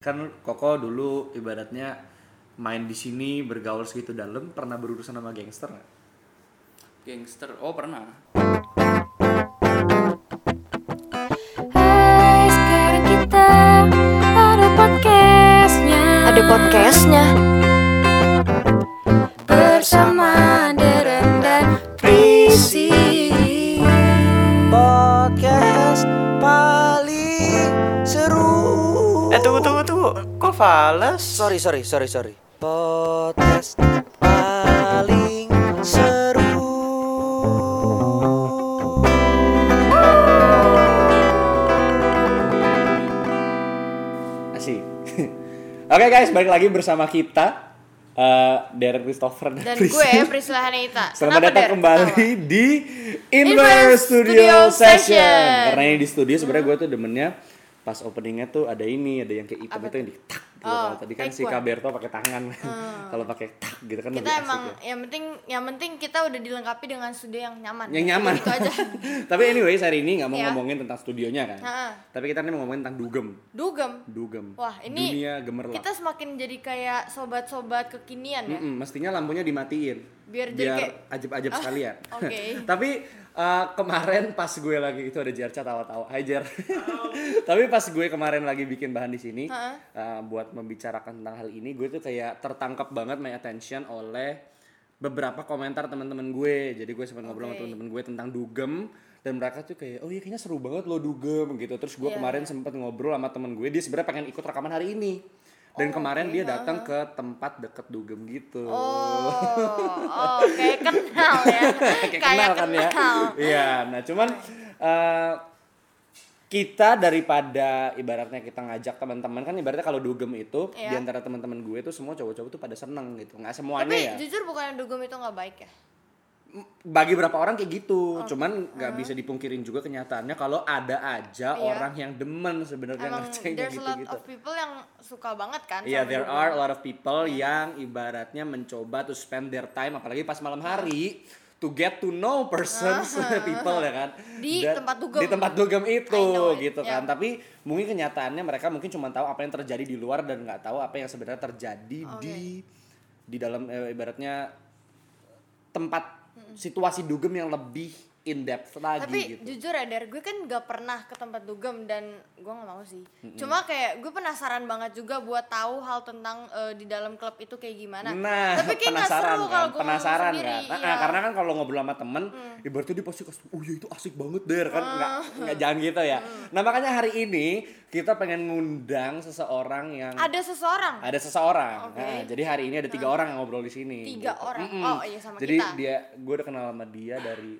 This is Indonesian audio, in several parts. kan Koko dulu ibaratnya main di sini bergaul segitu dalam pernah berurusan sama gangster nggak? Gangster. Oh, pernah. Hai, sekarang kita ada podcastnya. Ada podcastnya bersama Deren dan Prisi. Podcast paling seru. Eh tunggu tunggu tunggu, kok fals? Sorry sorry sorry sorry. Podcast paling seru. Asik. Oke guys, balik lagi bersama kita eh Derek Christopher dan, Dan Prisi. gue Priscilla Hanita. Selamat Kenapa, datang Der? kembali Ketawa. di Inverse Studio, Inverse Studio Session. Session. Karena ini di studio sebenarnya gue tuh demennya pas openingnya tuh ada ini, ada yang kayak item itu yang di tak gitu. Oh, Kalau tadi kan si backward. Kaberto pakai tangan. Kalau pakai tak gitu kan Kita lebih asik emang ya. yang penting yang penting kita udah dilengkapi dengan studio yang nyaman. yang nyaman. Itu aja. Tapi anyways hari ini nggak mau Iya. ngomongin tentang studionya kan. Ha-ha. Tapi kita ini mau ngomongin tentang dugem, Dugem. dugem. Wah, ini dunia gemerlap. Kita semakin jadi kayak sobat-sobat kekinian ya. Mm-mm, Mm, mestinya lampunya dimatiin. Biar jadi kayak- ajib-ajib sekalian. oke. Tapi uh, kemarin pas gue lagi itu ada Jerca tawa-tawa. Hai Jer. Tapi pas gue kemarin lagi bikin bahan di sini uh, buat membicarakan tentang hal ini, gue tuh kayak tertangkap banget my attention oleh beberapa komentar teman-teman gue. Jadi gue sempat ngobrol sama Oke. teman-teman gue tentang dugem dan mereka tuh kayak oh iya kayaknya seru banget lo dugem gitu. Terus gue Iya, kemarin sempat ngobrol sama temen gue, dia sebenarnya pengen ikut rekaman hari ini. Dan kemarin dia datang ke tempat deket dugem gitu. Oh, oh, kayak kenal ya. kayak kenal kan ya. Iya, nah cuman eh, kita daripada ibaratnya kita ngajak teman-teman kan ibaratnya kalau dugem itu Iya. di antara teman-teman gue itu semua cowok-cowok tuh pada seneng gitu. nggak semuanya Tapi ya. jujur bukannya dugem itu nggak baik ya? Bagi berapa orang kayak Oh. gitu. Cuman nggak bisa dipungkirin juga kenyataannya kalau ada aja Uh-huh. Iya. orang yang demen sebenarnya Emang ngerjain kayak there's a lot gitu-gitu. of people yang suka banget kan. Iya, sama there dugem. are a lot of people yang ibaratnya mencoba to spend their time, apalagi pas malam hari, to get to know persons, people ya kan. Ah, Di tempat dugem. Di tempat dugem itu, I know it, ya. gitu yeah. kan. Tapi mungkin kenyataannya mereka mungkin cuma tahu apa yang terjadi di luar dan nggak tahu apa yang sebenarnya terjadi Oh, di iya, di dalam eh, ibaratnya tempat situasi dugem yang lebih in depth lagi tapi gitu. jujur ya dari gue kan gak pernah ke tempat dugem dan gue gak mau sih cuma kayak gue penasaran banget juga buat tahu hal tentang eh, di dalam klub itu kayak gimana Nah, tapi kayak nggak penasaran seru kan, kalau gue penasaran ngomong kan. sendiri Nah, iya. Hmm. karena kan kalau ngobrol sama temen, ibaratnya dia pasti kasih, oh iya itu asik banget deh, kan nggak nggak jangan gitu ya. Hmm. Nah makanya hari ini kita pengen ngundang seseorang yang ada seseorang ada seseorang. Oke. Hmm. Nah, jadi hari ini ada tiga orang yang ngobrol di sini. gitu. Tiga orang? Oh, iya, sama jadi kita. dia, gue udah kenal sama dia dari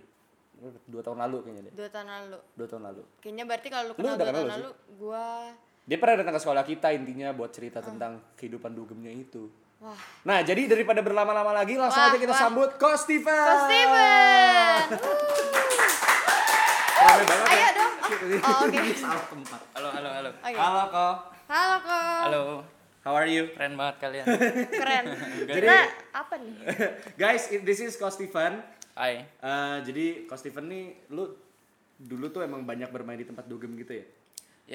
dua tahun lalu kayaknya deh, dua tahun lalu dua tahun lalu. kayaknya berarti kalau lu Lu kenal udah dua kenal tahun sih? lalu gue Dia pernah datang ke sekolah kita intinya buat cerita tentang kehidupan dugemnya itu. Ah. Wah. Nah, jadi daripada berlama-lama lagi, langsung Wah, aja kita wah. sambut Ko Steven. Steven Rame banget ayo ya. dong oh, oke Salah tempat. Halo, halo, halo. Oke. Halo, Ko. halo Ah. kok Halo. How are you? Keren banget kalian. keren Jadi- nah apa nih Eh, Guys, it- this is Ko Steven. Hai. Eh, jadi Ko Steven nih lu dulu tuh emang banyak bermain di tempat dugem gitu ya?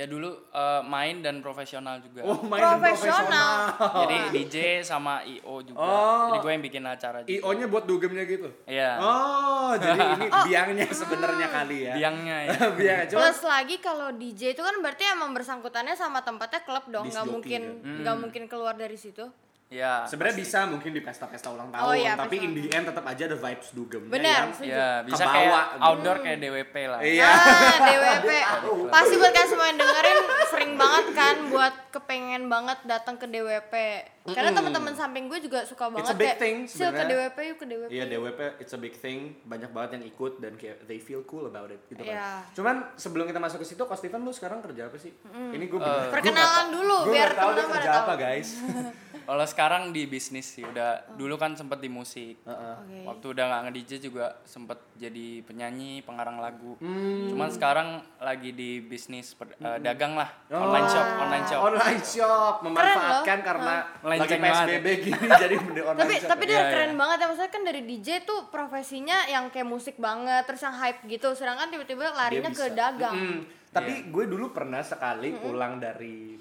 Ya dulu eh, main dan profesional juga. Oh, main di profesional Jadi DJ sama IO juga. Oh. Jadi gue yang bikin acara juga. IO-nya buat dugemnya gitu. Iya. Oh, jadi ini biangnya sebenarnya kali ya. Biangnya ya. Biang. Cuma Plus lagi kalau DJ itu kan berarti emang bersangkutannya sama tempatnya klub dong, Disc nggak jockey mungkin nggak mungkin keluar dari situ. Ya. sebenarnya bisa mungkin di pesta-pesta ulang tahun, Oh, iya, tapi pesta in the end tetap aja ada vibes dugemnya Benar, yang setuju. Ya, bisa Kebawa kayak gitu. outdoor kayak DWP lah. Iya. Ah, DWP. Pasti buat kalian semua yang dengerin sering banget kan buat kepengen banget datang ke DWP. Karena teman-teman samping gue juga suka banget big thing "Sil, ke sebenarnya." DWP yuk ke DWP. Iya DWP it's a big thing banyak banget yang ikut dan kayak they feel cool about it gitu Iya. kan. Cuman sebelum kita masuk ke situ, Kak Steven lu sekarang kerja apa sih? Ini gue Perkenalan dulu biar tahu dia teman-teman pada kerja tahu. apa guys. Kalau sekarang di bisnis sih udah dulu kan sempet di musik. Ah. Oke. Waktu udah nggak nge-DJ juga sempet jadi penyanyi, pengarang lagu. Hmm. Cuman sekarang lagi di bisnis per- eh, dagang lah, Oh. online shop, online shop. online shop memanfaatkan karena lagi Melenceng PSBB gini jadi benda online Tapi shop. tapi dia Iya, keren iya. banget ya maksudnya kan dari DJ tuh profesinya yang kayak musik banget terus yang hype gitu sedangkan tiba-tiba larinya ke dagang. Mm, tapi gue dulu pernah sekali pulang dari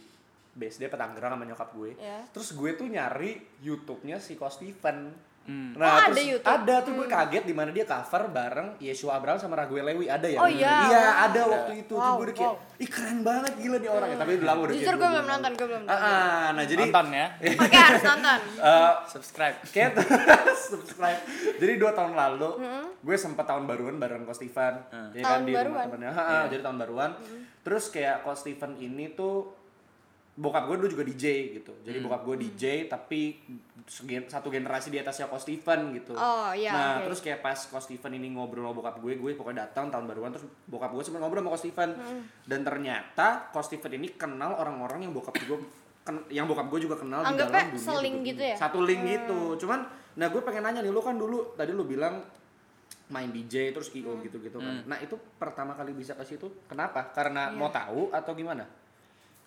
BSD Petanggerang sama nyokap gue. Iya. Terus gue tuh nyari YouTube-nya si Ko Steven. Nah, Oh, ada terus YouTube? Mm. ada tuh gue kaget di mana dia cover bareng Yeshua Abraham sama Raguel Lewi ada ya? Oh, iya. ada waktu itu. Tuh gue udah kayak, ih keren banget gila nih orang. ya Tapi udah lama udah Mm. Jujur gue belum nonton, gue belum Ah, nonton. ah, nah jadi Nonton ya. Oke harus nonton. eh, Subscribe. Kayak subscribe. Jadi dua tahun lalu, gue sempet tahun baruan bareng Ko Steven, ya kan Tahun di rumah baruan? temennya. Ha, ha, Jadi tahun baruan. Terus kayak Ko Steven ini tuh bokap gue dulu juga DJ gitu. Jadi bokap gue Mm. DJ tapi segen- satu generasi di atasnya Ko Steven gitu. Oh, iya, Nah oke. terus kayak pas Ko Steven ini ngobrol sama bokap gue, gue pokoknya datang tahun baruan terus bokap gue sempat ngobrol sama Ko Steven. Mm. Dan ternyata Ko Steven ini kenal orang-orang yang bokap gue ken- yang bokap gue juga kenal di Anggapnya dalam dunia seling juga gitu dunia. ya? Satu link gitu. Cuman nah gue pengen nanya nih lu kan dulu tadi lu bilang main DJ terus IO Hmm. gitu-gitu kan. Hmm. Nah, itu pertama kali bisa ke situ kenapa? Karena Iya. mau tahu atau gimana?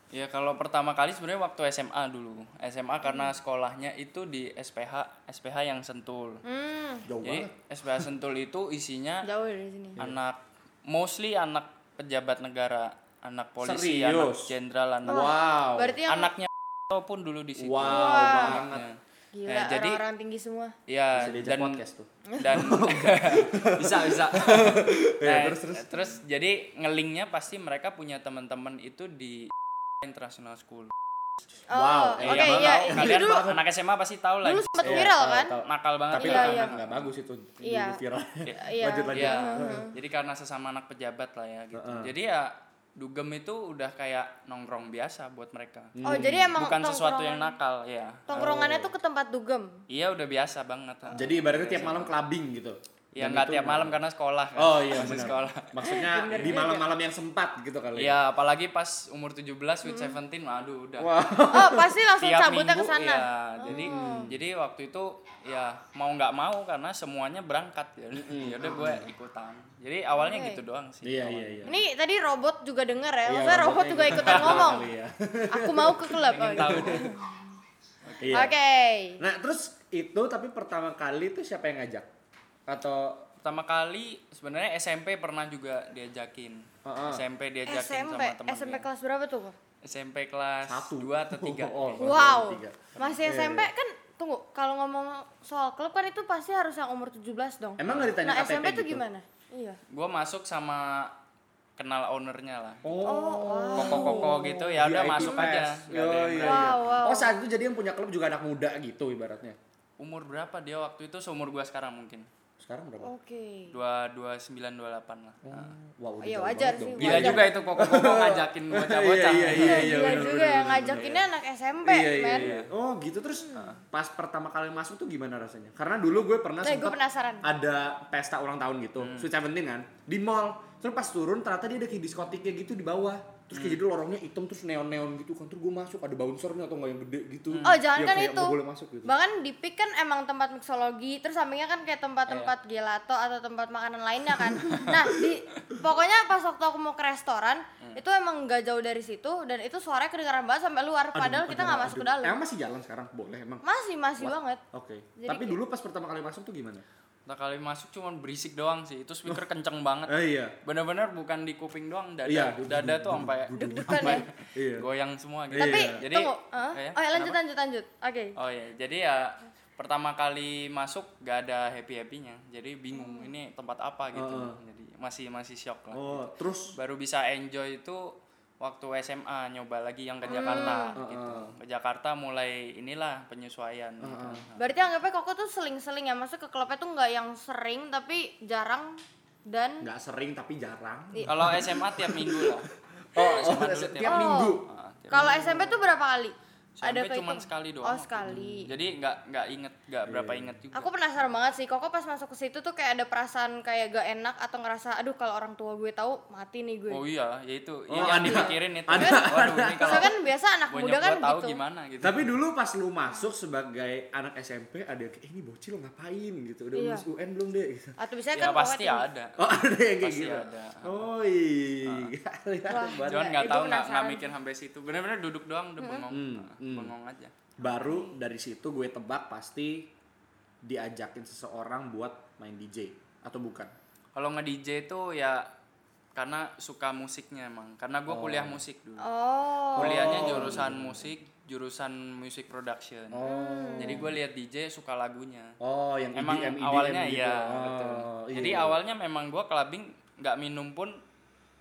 Ya kalau pertama kali sebenarnya waktu SMA dulu. SMA karena Hmm. sekolahnya itu di SPH, SPH yang Sentul. Hmm, Jauh Jadi banget. SPH Sentul itu isinya jauh ya dari sini. anak mostly anak pejabat negara, anak polisi, Serius? anak jenderal, anak Wow. Oh, Berarti yang anaknya pun dulu di situ. Wow, banget. Ya. gila Eh, jadi- orang-orang tinggi semua. Ya, Bisa diajak dan podcast tuh. dan bisa bisa. Eh, Iya, Nah, terus, terus jadi ngelinknya pasti mereka punya teman-teman itu di International School. Oh, Wow, oke eh, yang Iya, mana iya. tahu. Iya, Itu kalian dulu anak SMA pasti tahu lah. Iya, dulu sempat viral tahu, kan? tahu. Nakal banget. Tapi Iya, kan iya. nggak bagus itu dulu Iya. viral. Iya. Lanjut lanjut. Iya. Jadi karena sesama anak pejabat lah ya gitu. Jadi ya dugem itu udah kayak nongkrong biasa buat mereka. Oh, jadi Hmm. emang Bukan sesuatu yang nakal tongkrongan- ya. Tongkrongannya tuh ke tempat dugem. Iya udah biasa banget. ha. Jadi ibaratnya tiap malam clubbing gitu. ya Dan nggak itu tiap malam karena sekolah kan. Oh iya, Masih benar. sekolah. Maksudnya di iya, malam-malam yang sempat gitu kali. ya? Iya, apalagi pas umur 17 with Hmm. 17, waduh udah. Oh, pasti langsung Tiap cabutnya Hmm. minggu ke sana. iya. ya. Jadi jadi waktu itu ya mau nggak mau karena semuanya berangkat ya. Ya udah gue ikutan. Jadi awalnya gitu doang sih. Hmm. Iya, awalnya. iya, iya. Ini tadi robot juga denger ya. Iya, Maksudnya robot robotnya juga ikut- ikutan ngomong. Kali ya. Aku mau ke klub. Oh, gitu. Tahu. Iya. Oke. Nah, terus itu tapi pertama kali itu siapa yang ngajak? Atau Pertama kali sebenarnya SMP pernah juga diajakin. Ah, ah. SMP diajakin SMP, sama teman. SMP dia. kelas berapa tuh? Kok? SMP kelas Satu. 2 atau 3. Oh, kelas Wow. tiga. Masih SMP kan tunggu, kalau ngomong soal klub kan itu pasti harus yang umur 17 dong. Emang nggak ditanya Nah, KTP SMP tuh gitu? gimana? Iya. Gue masuk sama kenal ownernya lah. Oh, Iya, Koko-koko gitu ya udah VIP masuk pass. aja. Nggak ada Oh, yang iya, berani. iya. Wow, wow. Oh, saat itu jadi yang punya klub juga anak muda gitu ibaratnya. Umur berapa dia waktu itu seumur gua sekarang mungkin. Sekarang Oh. berapa? Oke. 229 28 lah. Oh. Nah. Wow, udah Iya, jauh wajar banget sih. dong. Gila wajar. juga itu koko-koko ngajakin Iya, bocah-bocah. iya, iya, iya. Gila bener, juga bener, yang bener. ngajakinnya anak SMP, Iya, iya, men. Nah, Hmm. iya. Oh, gitu terus pas pertama kali masuk tuh gimana rasanya? Karena dulu gue pernah Nah, gue sempet penasaran. ada pesta ulang tahun gitu, Sweet Seventeen kan, di mall. Terus pas turun ternyata dia ada kayak diskotiknya gitu di bawah. Terus kayak jadi lorongnya hitam terus neon-neon gitu kan. Terus gue masuk ada bouncernya atau nggak yang gede gitu. Oh, jangan Yang kan kayak itu. nggak boleh masuk gitu. Bahkan di PIK kan emang tempat mixologi, terus sampingnya kan kayak tempat-tempat Iya. gelato atau tempat makanan lainnya kan. nah, di pokoknya pas waktu aku mau ke restoran, Hmm. itu emang gak jauh dari situ dan itu suaranya kedengaran banget sampai luar padahal kita nggak masuk ke dalam. Emang masih jalan sekarang? Boleh emang. Masih masih banget. Oke. Jadi Tapi dulu pas pertama kali masuk tuh gimana? Kita Nah, kali masuk cuman berisik doang sih. Itu speaker kenceng banget. Eh iya. Bener-bener bukan di kuping doang, dada. Iya. Dada tuh sampai Deg-degan ya. Iya. goyang semua gitu. Tapi Jadi tunggu, eh? Eh, oh ya lanjut lanjut lanjut. Oke. Oh ya, jadi ya pertama kali masuk gak ada happy happynya, jadi bingung ini tempat apa gitu, jadi masih masih shock lah. Oh, terus Baru bisa enjoy itu waktu SMA nyoba lagi yang Hmm. ke Jakarta gitu. Ke Jakarta mulai inilah penyesuaian. gitu. Berarti anggapnya koko tuh seling-seling ya, masuk ke klubnya tuh nggak yang sering tapi jarang dan nggak sering tapi jarang. Iya. Kalau SMA tiap minggu lah. Oh, SMA dulu setiap tiap- minggu. Oh, Ah, tiap- Kalau SMP tuh berapa kali? SMP kehitung- cuman sekali doang Oh waktu itu. sekali. Jadi nggak nggak inget nggak berapa Iya. inget juga. Aku penasaran banget sih, Koko pas masuk ke situ tuh kayak ada perasaan kayak gak enak atau ngerasa aduh kalau orang tua gue tahu mati nih gue. Oh iya, ya itu Oh, yang ada. dipikirin itu. Ada, Waduh, ini kalau Soalnya kan biasa anak gua muda kan nyoba tahu gitu. gimana gitu. Tapi dulu pas lu masuk sebagai anak SMP ada yang kayak "Eh, ini bocil ngapain gitu. Udah Iya. lulus UN belum deh gitu. Atau biasanya ya kan pasti pokoknya ada. Oh, ada yang kayak Pasti gitu. ada. Oh, iya. Keren banget. Cuman nggak Itu tahu nggak nggak penasaran. Hmm. mikir sampai situ. Bener-bener duduk doang udah bengong, Hmm, Nah, bengong aja. Baru dari situ gue tebak pasti diajakin seseorang buat main DJ atau bukan. Kalau nge DJ tuh ya karena suka musiknya emang karena gue kuliah musik dulu Oh. kuliahnya jurusan musik jurusan music production jadi gue lihat DJ suka lagunya Oh, yang emang EDM, EDM awalnya gitu. iya Oh, betul. iya, jadi iya. awalnya memang gue clubbing nggak minum pun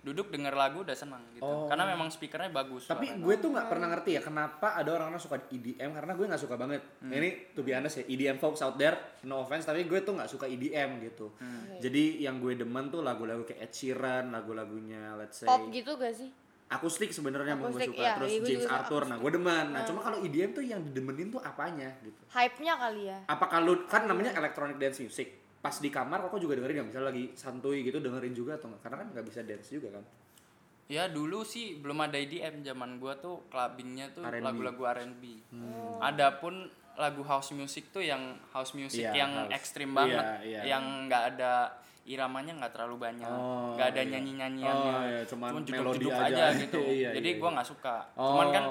duduk denger lagu udah senang gitu karena memang speakernya bagus Oh. Tapi suaranya. gue tuh nggak pernah ngerti ya kenapa ada orang-orang suka EDM karena gue nggak suka banget. Ini to be honest ya EDM folks out there, no offense tapi gue tuh nggak suka EDM gitu. Jadi yang gue demen tuh lagu-lagu kayak Ed Sheeran, lagu-lagunya let's say Pop gitu gak sih? akustik sebenarnya emang gue Akustik, suka. iya, Terus iya, James gue juga suka Hmm. Arthur, nah gue demen. Nah cuma kalau EDM tuh yang didemenin tuh apanya gitu. Hype-nya kali ya. Apakah lu kan namanya electronic dance music? Pas di kamar kok juga dengerin nggak? Misalnya lagi santuy gitu dengerin juga atau nggak? Karena kan nggak bisa dance juga kan. ya dulu sih belum ada EDM zaman gue tuh clubbingnya tuh R&B. lagu-lagu R&B adapun lagu house music tuh yang house music Iya, yang house. ekstrim banget Iya, iya. yang nggak ada iramanya nggak terlalu banyak Oh, nggak ada iya. nyanyi nyanyiannya Oh, iya, cuman jeduk-jeduk melodi aja. gitu Iya, jadi iya, gue iya. nggak suka Oh. Hmm. cuman kan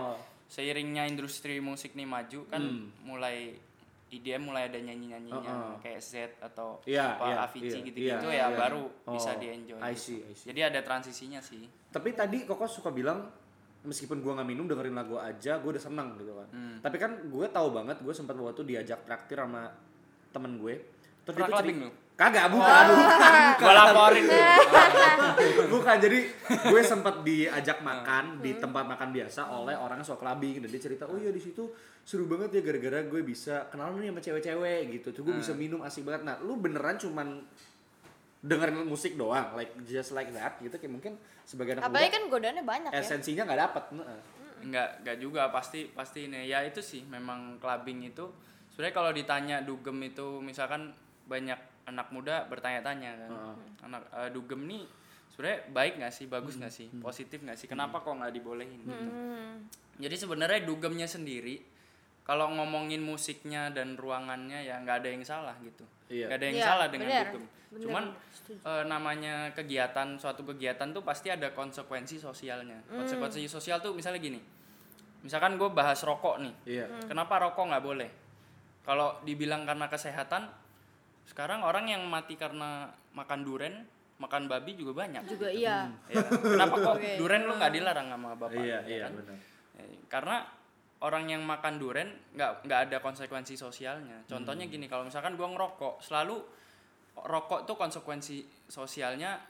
seiringnya industri musik nih maju kan mulai EDM mulai ada nyanyi nyanyinya Oh, oh. kayak Z atau Iya, apa iya, Avicii iya, gitu-gitu iya, ya iya. baru Oh, bisa di enjoy I see, I see. jadi ada transisinya sih Tapi tadi Koko suka bilang meskipun gua nggak minum dengerin lagu aja gue udah seneng gitu kan. Hmm. Tapi kan gue tahu banget gue sempat waktu itu diajak traktir sama temen gue. Terus Pernah tuh clubbing ceri- lu? Kagak bukan bukan. gue laporin bukan jadi gue sempat diajak makan di tempat makan biasa oleh orang yang suka clubbing dan dia cerita oh iya di situ seru banget ya gara-gara gue bisa kenalan nih sama cewek-cewek gitu tuh gue bisa minum asik banget nah lu beneran cuman dengerin musik doang like just like that gitu kayak mungkin sebagai anak Apalagi muda, kan godaannya banyak ya. esensinya nggak dapat Iya. nggak nggak juga pasti pasti ini ya itu sih memang clubbing itu sebenarnya kalau ditanya dugem itu misalkan banyak anak muda bertanya-tanya kan anak eh, dugem nih sebenarnya baik nggak sih bagus nggak sih positif nggak sih kenapa kok nggak dibolehin gitu jadi sebenarnya dugemnya sendiri kalau ngomongin musiknya dan ruangannya ya nggak ada yang salah gitu Iya. nggak ada yang Iya, salah dengan bener. dugem Bener, cuman setuju. eh, namanya kegiatan suatu kegiatan tuh pasti ada konsekuensi sosialnya Hmm. konsekuensi sosial tuh misalnya gini misalkan gue bahas rokok nih iya Hmm. Kenapa rokok nggak boleh? Kalau dibilang karena kesehatan, sekarang orang yang mati karena makan duren, makan babi juga banyak. Juga iya. Ya, Kenapa kok Oke. duren lu nggak dilarang sama bapak? iya ya iya kan? benar Eh, Karena orang yang makan duren nggak nggak ada konsekuensi sosialnya. Contohnya gini, kalau misalkan gua ngerokok, selalu rokok tuh konsekuensi sosialnya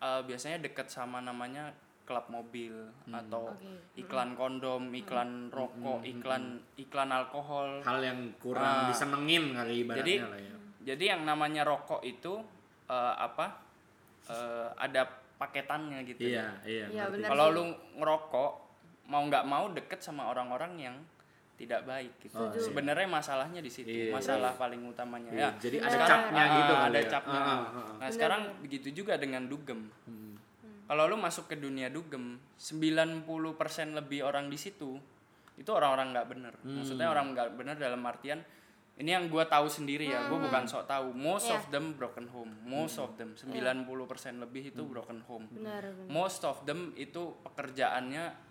eh, biasanya deket sama namanya klub mobil atau Oke. iklan kondom, iklan rokok, iklan iklan alkohol. hal yang kurang Ah. disenengin kali ibaratnya Jadi lah ya jadi yang namanya rokok itu eh, apa? eh, ada paketannya gitu. iya iya Iya ngerti. benar. Kalau lu ngerokok mau nggak mau deket sama orang-orang yang tidak baik gitu. Oh, iya. Sebenarnya masalahnya di situ, Iya, masalah paling utamanya Iya, ya. jadi ada Sekarang- capnya ah, gitu kali ada ya. capnya. Ah, ah, ah, Hmm. ah. Nah, sekarang begitu juga dengan dugem. Kalau lu masuk ke dunia dugem, 90% lebih orang di situ itu orang-orang nggak bener. Hmm. Maksudnya orang nggak bener dalam artian ini yang gue tahu sendiri ya, gue bukan sok tahu. Most of them broken home, most of them 90% lebih Hmm. itu broken home Benar, benar. most of them itu pekerjaannya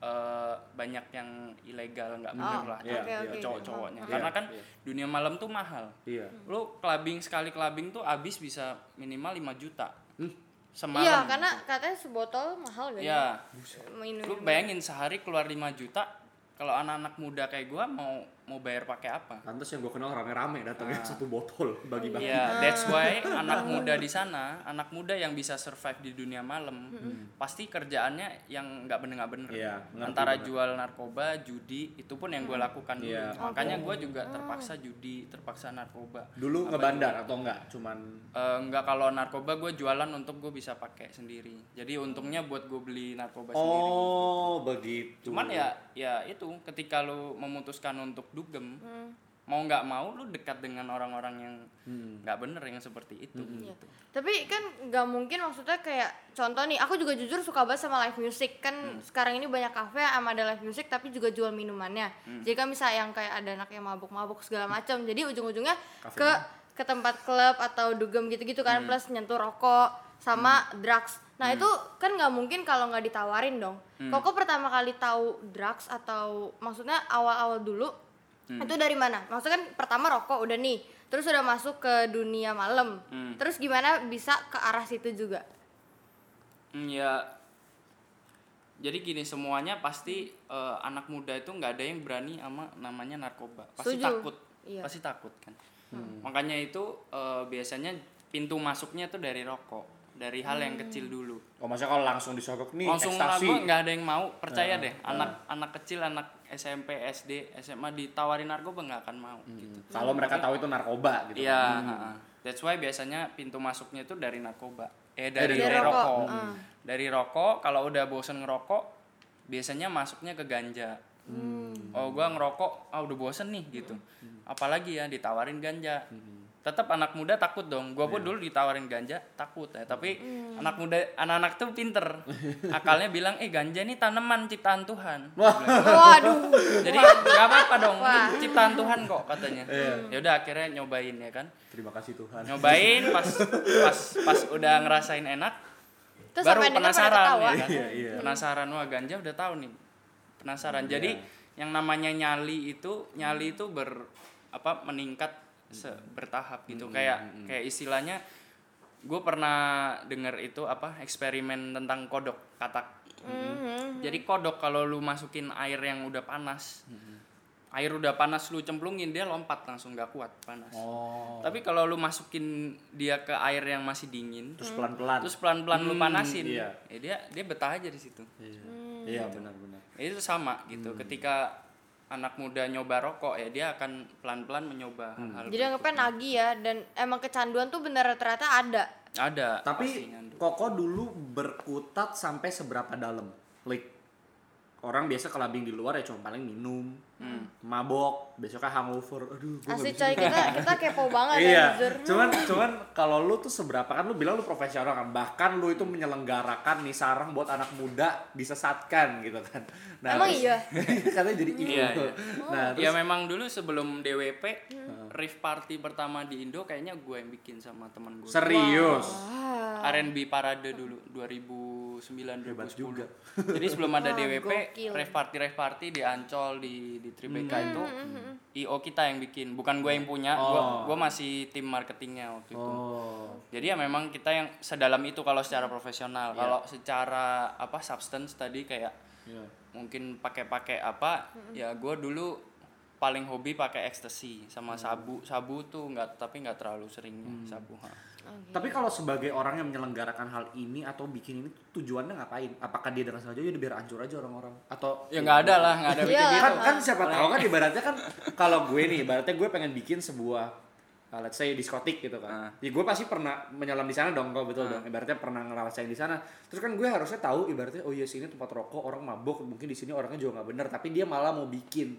eh, banyak yang ilegal nggak bener lah iya, Oh, oke, Hmm. iya. oke. cowok-cowoknya Iya, karena kan iya. dunia malam tuh mahal iya Hmm. lu clubbing sekali clubbing tuh abis bisa minimal 5 juta Hmm. semalam Iya, karena katanya sebotol mahal gak ya sih? Minum. lu bayangin sehari keluar 5 juta kalau anak-anak muda kayak gua mau mau bayar pakai apa Lantas yang gue kenal rame-rame datangnya satu botol Oh, iya. bagi-bagi. Ya, that's why anak muda di sana, anak muda yang bisa survive di dunia malam, pasti kerjaannya yang nggak bener nggak bener. Iya, ngerti Antara banget. jual narkoba, judi, itu pun yang gue lakukan dulu. Iya. Makanya gue juga terpaksa judi, terpaksa narkoba. Dulu ngebandar atau enggak? Cuman Eh, nggak kalau narkoba gue jualan untuk gue bisa pakai sendiri. Jadi untungnya buat gue beli narkoba sendiri. Oh, begitu. Cuman ya, ya itu ketika lu memutuskan untuk dugem, mau nggak mau lu dekat dengan orang-orang yang Hmm. nggak bener yang seperti itu. gitu. Tapi kan nggak mungkin maksudnya kayak contoh nih, aku juga jujur suka banget sama live music kan sekarang ini banyak kafe sama ada live music tapi juga jual minumannya. Jadi kan bisa yang kayak ada anak yang mabuk-mabuk segala macam. Jadi ujung-ujungnya ke ke tempat klub atau dugem gitu-gitu kan plus nyentuh rokok sama drugs. Nah itu kan nggak mungkin kalau nggak ditawarin dong. Kok Koko pertama kali tahu drugs atau maksudnya awal-awal dulu Hmm. itu dari mana? Maksudnya kan pertama rokok udah nih, terus udah Hmm. masuk ke dunia malam, terus gimana bisa ke arah situ juga? Hmm, ya jadi gini semuanya pasti eh, anak muda itu nggak ada yang berani sama namanya narkoba pasti Setuju. takut Iya. Hmm. pasti takut kan makanya itu eh, biasanya pintu masuknya tuh dari rokok dari hal yang kecil Hmm. dulu Oh maksudnya kalau langsung disogok nih langsung ekstasi. Ah, narkoba nggak ada yang mau percaya deh anak anak kecil anak SMP SD SMA ditawarin narkoba nggak akan mau Hmm. gitu Kalau mereka tahu itu narkoba gitu. Iya, Hmm. ha-ha. that's why biasanya pintu masuknya itu dari narkoba. Eh dari, dari dari rokok. rokok. Hmm. Dari rokok kalau udah bosen ngerokok biasanya masuknya ke ganja. Hmm. Oh, gua ngerokok, ah udah bosen nih gitu. Apalagi ya ditawarin ganja. Hmm. Tetap anak muda takut dong. Gua Iya. pun dulu ditawarin ganja takut ya, tapi Hmm. anak muda anak-anak tuh pinter. Akalnya bilang, "Eh, ganja ini tanaman ciptaan Tuhan." Gua bilang, Waduh. Jadi nggak apa-apa dong, Wah. Iya. ini ciptaan Tuhan kok katanya. Ya udah akhirnya nyobain ya kan Terima kasih Tuhan. nyobain pas pas pas udah ngerasain enak Terus baru sampai ini pada penasaran ketawa. ya kan? Iya, iya. penasaran wah ganja udah tahu nih penasaran jadi yang namanya nyali itu nyali itu ber apa meningkat se- bertahap gitu kayak kayak istilahnya gue pernah dengar itu apa eksperimen tentang kodok katak Mm-hmm. jadi kodok kalau lu masukin air yang udah panas air udah panas lu cemplungin dia lompat langsung gak kuat panas Oh. tapi kalau lu masukin dia ke air yang masih dingin, Terus pelan-pelan. terus pelan-pelan lu panasin, iya. ya dia dia betah aja di situ. Iya. Hmm. Hmm. Iya benar-benar. Itu sama gitu. Ketika anak muda nyoba rokok ya dia akan pelan-pelan mencoba Hmm. hal Jadi anggapnya nagih ya dan emang kecanduan tuh bener ternyata ada. ada. Tapi pastinya. Koko dulu berkutat sampai seberapa dalam? Like orang biasa kelabing di luar ya cuma paling minum, Hmm. mabok, besoknya hangover. Aduh, gua nggak Asli bisa coy kita kita kepo banget ya iya jujur. cuman cuman kalau lu tuh seberapa kan lu bilang lu profesional kan bahkan lu itu menyelenggarakan nih sarang buat anak muda disesatkan gitu kan nah, Emang terus- iya? katanya jadi ilmu Iya, iya. nah terus Hmm. ya memang dulu sebelum DWP, Hmm. Riff Party pertama di Indo kayaknya gue yang bikin sama teman gue. serius R&B Parade dulu 2009 Hebat 2010. juga. Jadi sebelum ada Wah, DWP, gokil. rave party rave party di Ancol di di Tribeca Hmm. itu IO kita yang bikin, bukan gue yang punya. Gue gue masih tim marketingnya waktu itu. oh Jadi ya memang kita yang sedalam itu kalau secara profesional. Kalau secara apa substance tadi kayak iya. Oh, mungkin pakai-pakai apa? Ya gue dulu paling hobi pakai ekstasi sama sabu. Sabu tuh nggak tapi nggak terlalu sering sabu. ha. tapi kalau sebagai orang yang menyelenggarakan hal ini atau bikin ini tujuannya ngapain apakah dia dengan sengaja ya udah biar hancur aja orang-orang atau Ya nggak ada lah, nggak ada Iya lah. kan kan siapa tahu kan ibaratnya kan kalau gue nih ibaratnya gue pengen bikin sebuah uh, let's say diskotik gitu kan. Ya gue pasti pernah menyelam di sana dong kalau betul dong. Ibaratnya pernah ngerasain di sana. Terus kan gue harusnya tahu ibaratnya oh iya sini tempat rokok, orang mabuk, mungkin di sini orangnya juga nggak bener tapi dia malah mau bikin.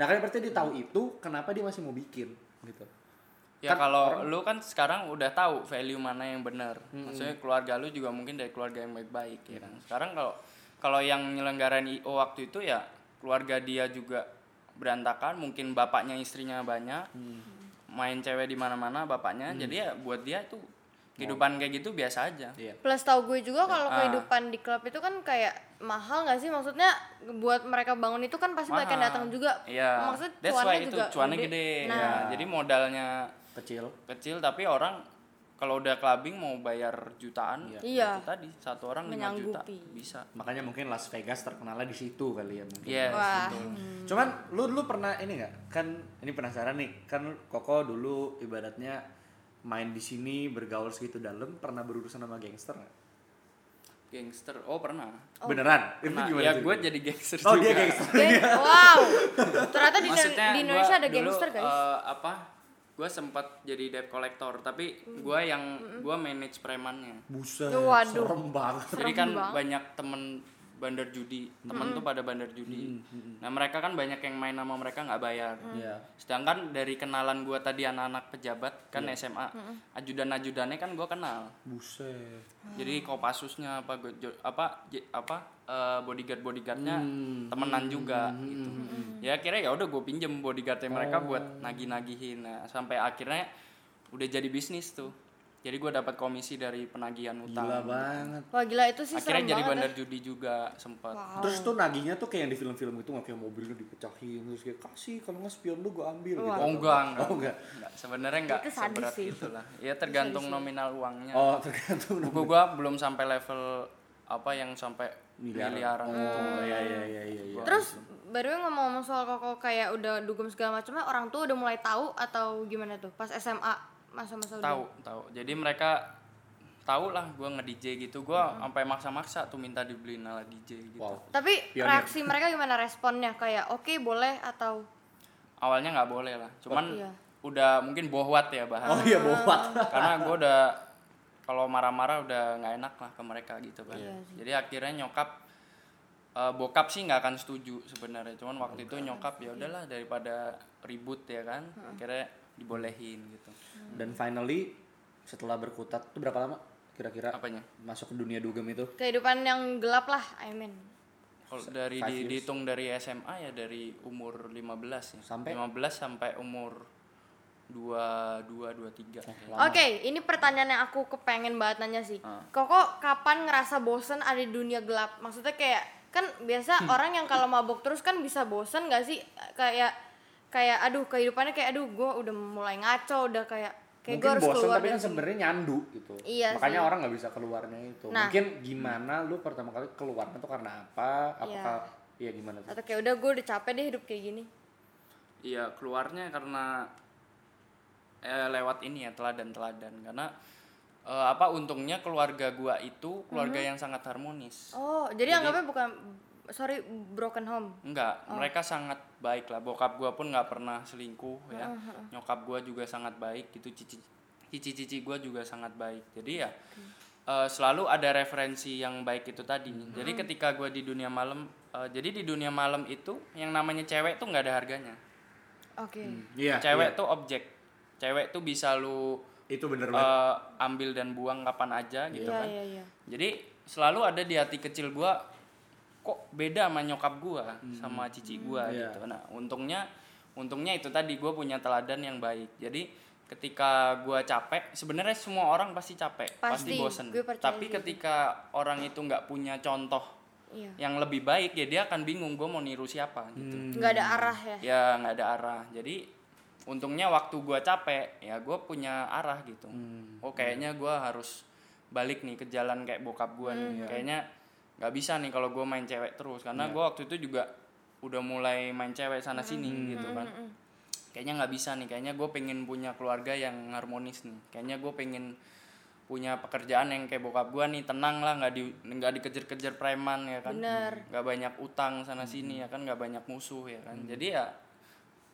Nah, kan berarti dia tahu itu, kenapa dia masih mau bikin gitu. Ya Kan kalau lu kan sekarang udah tahu value mana yang benar. Maksudnya keluarga lu juga mungkin dari keluarga yang baik-baik ya kan. Sekarang kalau kalau yang nyelenggarain IO waktu itu ya keluarga dia juga berantakan, mungkin bapaknya istrinya banyak. Main cewek di mana-mana bapaknya. Jadi ya buat dia tuh kehidupan kayak gitu biasa aja. Plus tahu gue juga kalau Ah. kehidupan di klub itu kan kayak mahal nggak sih maksudnya buat mereka bangun itu kan pasti banyak yang Mahal. datang juga. Iya. Maksud That's cuannya why itu juga cuannya gede. Nah, Ya, jadi modalnya Kecil. kecil tapi orang kalau udah clubbing mau bayar jutaan Iya. itu tadi satu orang 5 juta Menyanggupi. bisa Makanya mungkin Las Vegas terkenalnya di situ kali ya mungkin. Yes, Iya, Wah. betul. Cuman lu dulu pernah ini nggak? Kan ini penasaran nih. Kan Koko dulu ibaratnya main di sini bergaul segitu dalam pernah berurusan sama gangster nggak? Gangster. Oh, pernah. Beneran? Itu Nah, gimana? ya ceritanya? gue jadi gangster Oh, juga. dia gangster. Oke, wow. Ternyata Oh, di, Maksudnya di Indonesia gua ada dulu, gangster ya? guys. eh, apa? Gue sempat jadi debt collector, tapi Hmm. gue yang gue manage premannya. Buset, Waduh. serem banget. Jadi kan banget. Hmm. banyak temen bandar judi, temen tuh pada bandar Hmm, judi. Nah mereka kan banyak yang main sama mereka nggak bayar. Hmm. Iya. Sedangkan dari kenalan gue tadi anak-anak pejabat kan Iya. SMA, Hmm. ajudan-ajudannya kan gue kenal. Buset. jadi Hmm. kopasusnya apa go- jo- apa je- apa bodyguard bodyguardnya Hmm. temenan juga gitu ya akhirnya ya udah gue pinjem bodyguardnya mereka Oh. buat nagih nagihin nah, sampai akhirnya udah jadi bisnis tuh jadi gue dapat komisi dari penagihan utang Gila banget. Wah gila itu sih serem akhirnya jadi banget. bandar judi juga sempat Terus tuh nagihnya tuh kayak yang di film-film itu nggak kayak mobilnya dipecahin terus kayak kasih kalau nggak spion lu gue ambil gitu. oh enggak enggak, Oh enggak. Enggak, sebenarnya enggak Itu sadis seberat sih. Oh. itulah ya tergantung nominal uangnya Oh tergantung. buku gue belum sampai level apa yang sampai Miliaran. miliaran Oh. gitu. Iya iya iya iya. iya. Terus baru ngomong-ngomong soal koko kayak udah dugem segala macamnya, orang tua udah mulai tahu atau gimana tuh pas SMA masa-masa udah- tahu tahu jadi mereka tahu lah gue nge DJ gitu gue sampai maksa-maksa tuh minta dibeliin ala DJ gitu Wow. Tapi Pionir. reaksi mereka gimana responnya? Kayak oke boleh atau awalnya nggak boleh lah cuman Iya. udah mungkin bohwat Oh ya bahan iya bobat. karena gue udah kalau marah-marah udah nggak enak lah ke mereka gitu kan jadi akhirnya nyokap eh, bokap sih nggak akan setuju sebenarnya cuman waktu Iya. itu nyokap ya udahlah daripada ribut ya kan akhirnya dibolehin gitu Dan finally setelah berkutat itu berapa lama kira-kira apanya masuk ke dunia dugem itu? kehidupan yang gelap lah, I mean. Kalau dari five di- years. dihitung dari SMA ya dari umur 15 ya. Sampai? 15 sampai umur 22 23. Oke, ini pertanyaan yang aku kepengen banget nanya sih. Koko kapan ngerasa bosen ada di dunia gelap? Maksudnya kayak kan biasa orang yang kalau mabok terus kan bisa bosen gak sih? Kayak kayak aduh kehidupannya kayak aduh gue udah mulai ngaco udah kayak kayak gue Mungkin harus bosen keluar tapi dari kan sini. sebenarnya nyandu gitu. Iya Makanya sih. orang nggak bisa keluarnya itu. Nah. Mungkin gimana lu pertama kali keluarnya tuh karena apa? Apakah iya gimana tuh? atau kayak udah gue udah capek deh hidup kayak gini. Iya, keluarnya karena eh, lewat ini ya teladan-teladan karena eh, apa untungnya keluarga gua itu keluarga yang sangat harmonis. Oh, jadi, anggapnya bukan sorry broken home. Enggak, Oh. mereka sangat baik lah. Bokap gua pun nggak pernah selingkuh ya. Oh, Nyokap gua juga sangat baik gitu. Cici cici-cici gua juga sangat baik. Jadi ya eh, selalu ada referensi yang baik itu tadi. Jadi Mm-hmm. ketika gua di dunia malam eh, jadi di dunia malam itu yang namanya cewek tuh nggak ada harganya. Oke. Iya. Cewek tuh objek. Cewek tuh bisa lu Itu bener banget. eh, ambil dan buang kapan aja gitu Iya kan. iya iya. Jadi selalu ada di hati kecil gua kok beda sama nyokap gua sama cici gua Iya. gitu. Nah, untungnya untungnya itu tadi gua punya teladan yang baik. Jadi ketika gua capek, sebenarnya semua orang pasti capek, Pasti, pasti, bosen. gue percaya Tapi gitu. ketika orang itu nggak punya contoh Iya. yang lebih baik, ya dia akan bingung gua mau niru siapa gitu Nggak ada arah ya. ya nggak ada arah jadi untungnya waktu gua capek ya gua punya arah gitu oh kayaknya gua harus balik nih ke jalan kayak bokap gua nih kayaknya nggak bisa nih kalau gua main cewek terus karena gua waktu itu juga udah mulai main cewek sana sini gitu kan kayaknya nggak bisa nih kayaknya gue pengen punya keluarga yang harmonis nih kayaknya gue pengen punya pekerjaan yang kayak bokap gue nih tenang lah nggak di nggak dikejar-kejar preman ya kan nggak banyak utang sana sini ya kan nggak banyak musuh ya kan jadi ya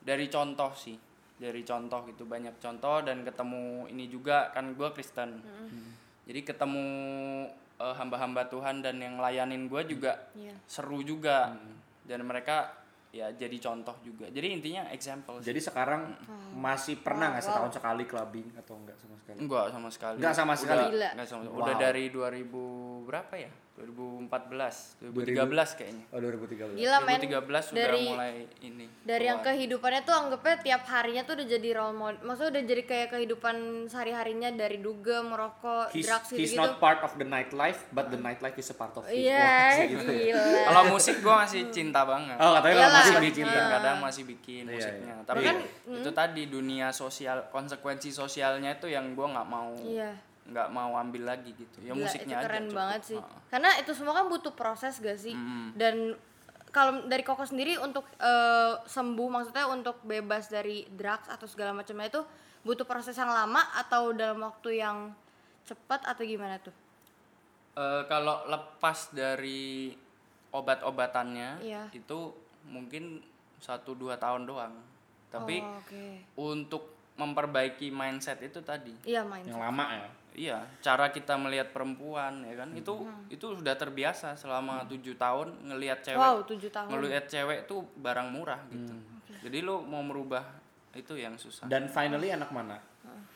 dari contoh sih dari contoh gitu banyak contoh dan ketemu ini juga kan gue Kristen jadi ketemu eh, hamba-hamba Tuhan dan yang layanin gue juga Iya. seru juga dan mereka ya jadi contoh juga jadi intinya example sih. Uh, Jadi sekarang Hmm. masih pernah nggak setahun sekali clubbing atau enggak sama sekali? Enggak sama sekali. Enggak sama Udah- sekali? Gila. enggak sama- Wow. Udah dari 2000 berapa ya? 2014, 2013 kayaknya. Oh 2013. Gila men. 2013 sudah dari mulai ini. dari yang kehidupannya tuh anggapnya tiap harinya tuh udah jadi role model. Maksudnya udah jadi kayak kehidupan sehari-harinya dari duga, merokok, He's, drugs he's gitu-gitu. not part of the nightlife, but the nightlife is a part of it. Wah, Iya, kayak gitu ya. gila. Kalau musik gua masih cinta banget. Oh katanya kalau Iyalah. masih Ah. masih bikin bikin kadang masih bikin Iya, musiknya. iya. Tapi Iya. kan itu hmm. tadi dunia sosial konsekuensi sosialnya itu yang gua nggak mau Iya. nggak mau ambil lagi gitu. Ya Gila, musiknya itu aja. keren cukup. Ah. banget sih. Ha. Karena itu semua kan butuh proses gak sih? Dan kalau dari Koko sendiri untuk eh, sembuh maksudnya untuk bebas dari drugs atau segala macamnya itu butuh proses yang lama atau dalam waktu yang cepat atau gimana tuh? Eh, kalau lepas dari obat-obatannya Iya. itu mungkin 1 2 tahun doang. Tapi Oh, Oke. untuk memperbaiki mindset itu tadi. Iya main. Yang lama ya. Iya, cara kita melihat perempuan ya kan itu Hmm. itu sudah terbiasa selama tujuh tahun ngelihat cewek. Wow, 7 tahun. Hmm. Ngelihat cewek tuh barang murah gitu. Jadi lu mau merubah itu yang susah. Dan finally anak mana?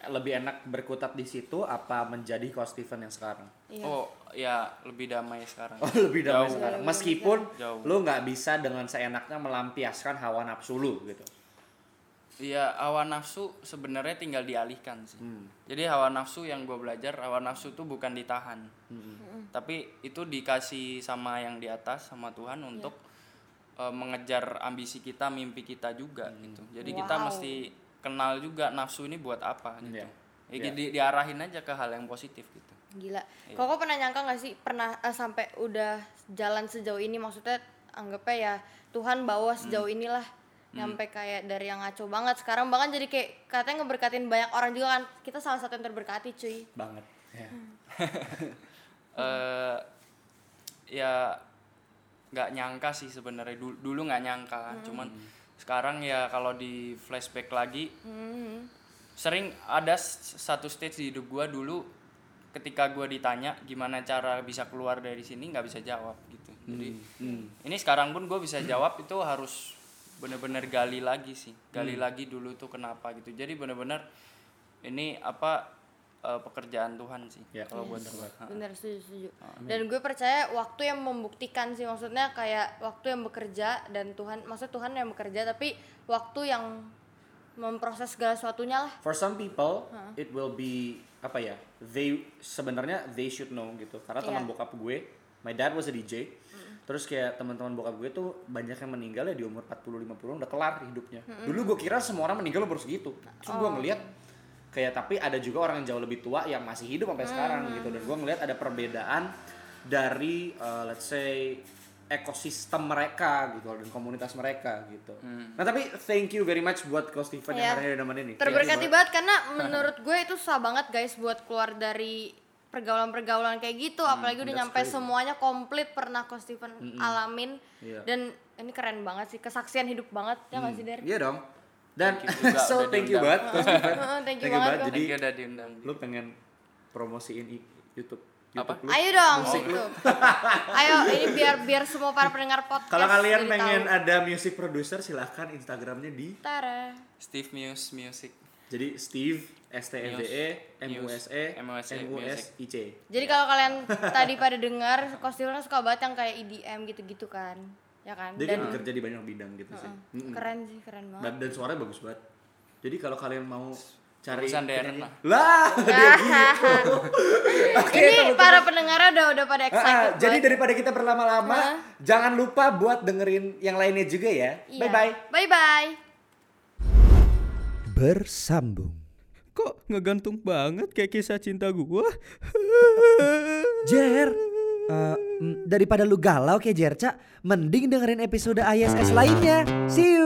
Lebih enak berkutat di situ apa menjadi Coach Steven yang sekarang? Iya. Oh, ya lebih damai sekarang. Oh, lebih damai Jauh. sekarang. Meskipun Jauh. lu nggak bisa dengan seenaknya melampiaskan hawa nafsu lu gitu. Iya, hawa nafsu sebenarnya tinggal dialihkan sih. Hmm. Jadi hawa nafsu yang gue belajar, hawa nafsu tuh bukan ditahan, Hmm. tapi itu dikasih sama yang di atas, sama Tuhan untuk eh, mengejar ambisi kita, mimpi kita juga Hmm. gitu. Jadi kita Wow. mesti kenal juga nafsu ini buat apa gitu. Iya. Ya, di- diarahin aja ke hal yang positif gitu. gila. Koko pernah nyangka nggak sih pernah eh, sampai udah jalan sejauh ini maksudnya anggapnya ya Tuhan bawa sejauh inilah nyampe kayak dari yang ngaco banget sekarang bahkan jadi kayak katanya ngeberkatin banyak orang juga kan kita salah satu yang terberkati cuy banget ya. eh ya nggak nyangka sih sebenarnya dulu dulu nggak nyangka kan. cuman sekarang ya kalau di flashback lagi sering ada s- satu stage di hidup gua dulu ketika gua ditanya gimana cara bisa keluar dari sini nggak bisa jawab gitu jadi ini sekarang pun gue bisa jawab itu harus bener-bener gali lagi sih gali lagi dulu tuh kenapa gitu jadi bener-bener ini apa eh, pekerjaan Tuhan sih Ya. kalau buat gua. bener setuju setuju dan gue percaya waktu yang membuktikan sih maksudnya kayak waktu yang bekerja dan Tuhan maksud Tuhan yang bekerja tapi waktu yang memproses segala sesuatunya lah For some people it will be apa ya? They sebenarnya they should know gitu. Karena teman Iya. bokap gue, my dad was a DJ. Terus kayak teman-teman bokap gue tuh banyak yang meninggal ya di umur 40 50 udah kelar hidupnya. Dulu gue kira semua orang meninggal umur segitu. Terus Oh. gue ngeliat kayak tapi ada juga orang yang jauh lebih tua yang masih hidup sampai sekarang gitu dan gue ngeliat ada perbedaan dari uh, let's say ekosistem mereka gitu dan komunitas mereka gitu. Nah, tapi thank you very much buat Ko Steven Iya. yang hari ini nemenin nih. terberkati banget karena menurut gue itu susah banget guys buat keluar dari pergaulan-pergaulan kayak gitu apalagi udah nyampe semuanya komplit pernah ko Steven alamin Iya. dan ini keren banget sih kesaksian hidup banget ya nggak sih Der? Iya dong. Dan Thank you juga so udah thank you diundang. banget Coach Steven. Heeh, thank you Thank you banget, banget. Coach. Jadi Thank you udah diundang. lu pengen promosiin i- YouTube Apa? YouTube lu. Ayo dong YouTube. Ayo ini biar biar semua para pendengar podcast. Kalau kalian jadi pengen tahu. ada music producer silahkan Instagramnya di Tara. Steve Muse Music. jadi Steve S T E V E M U S E M Muse, U S I C. Jadi kalau kalian tadi pada dengar Kostil kan suka banget yang kayak EDM gitu-gitu kan. Ya kan? Dia kan Dan Mm. bekerja di banyak bidang gitu sih. Mm-mm. keren sih, keren banget. Dan, dan suaranya bagus banget. Jadi kalau kalian mau cari Bagusan Darren penyanyi- lah. Lah, dia gitu. Oke, Ah. ini teman-teman. para pendengarnya udah udah pada Ah, ah, excited. jadi banget. daripada kita berlama-lama, Ah. jangan lupa buat dengerin yang lainnya juga ya. Iya. Bye bye. Bye bye. Bersambung Kok ngegantung banget kayak kisah cinta gua? Jer eh, mm, Daripada lu galau kayak Jerca Mending dengerin episode ISS lainnya See you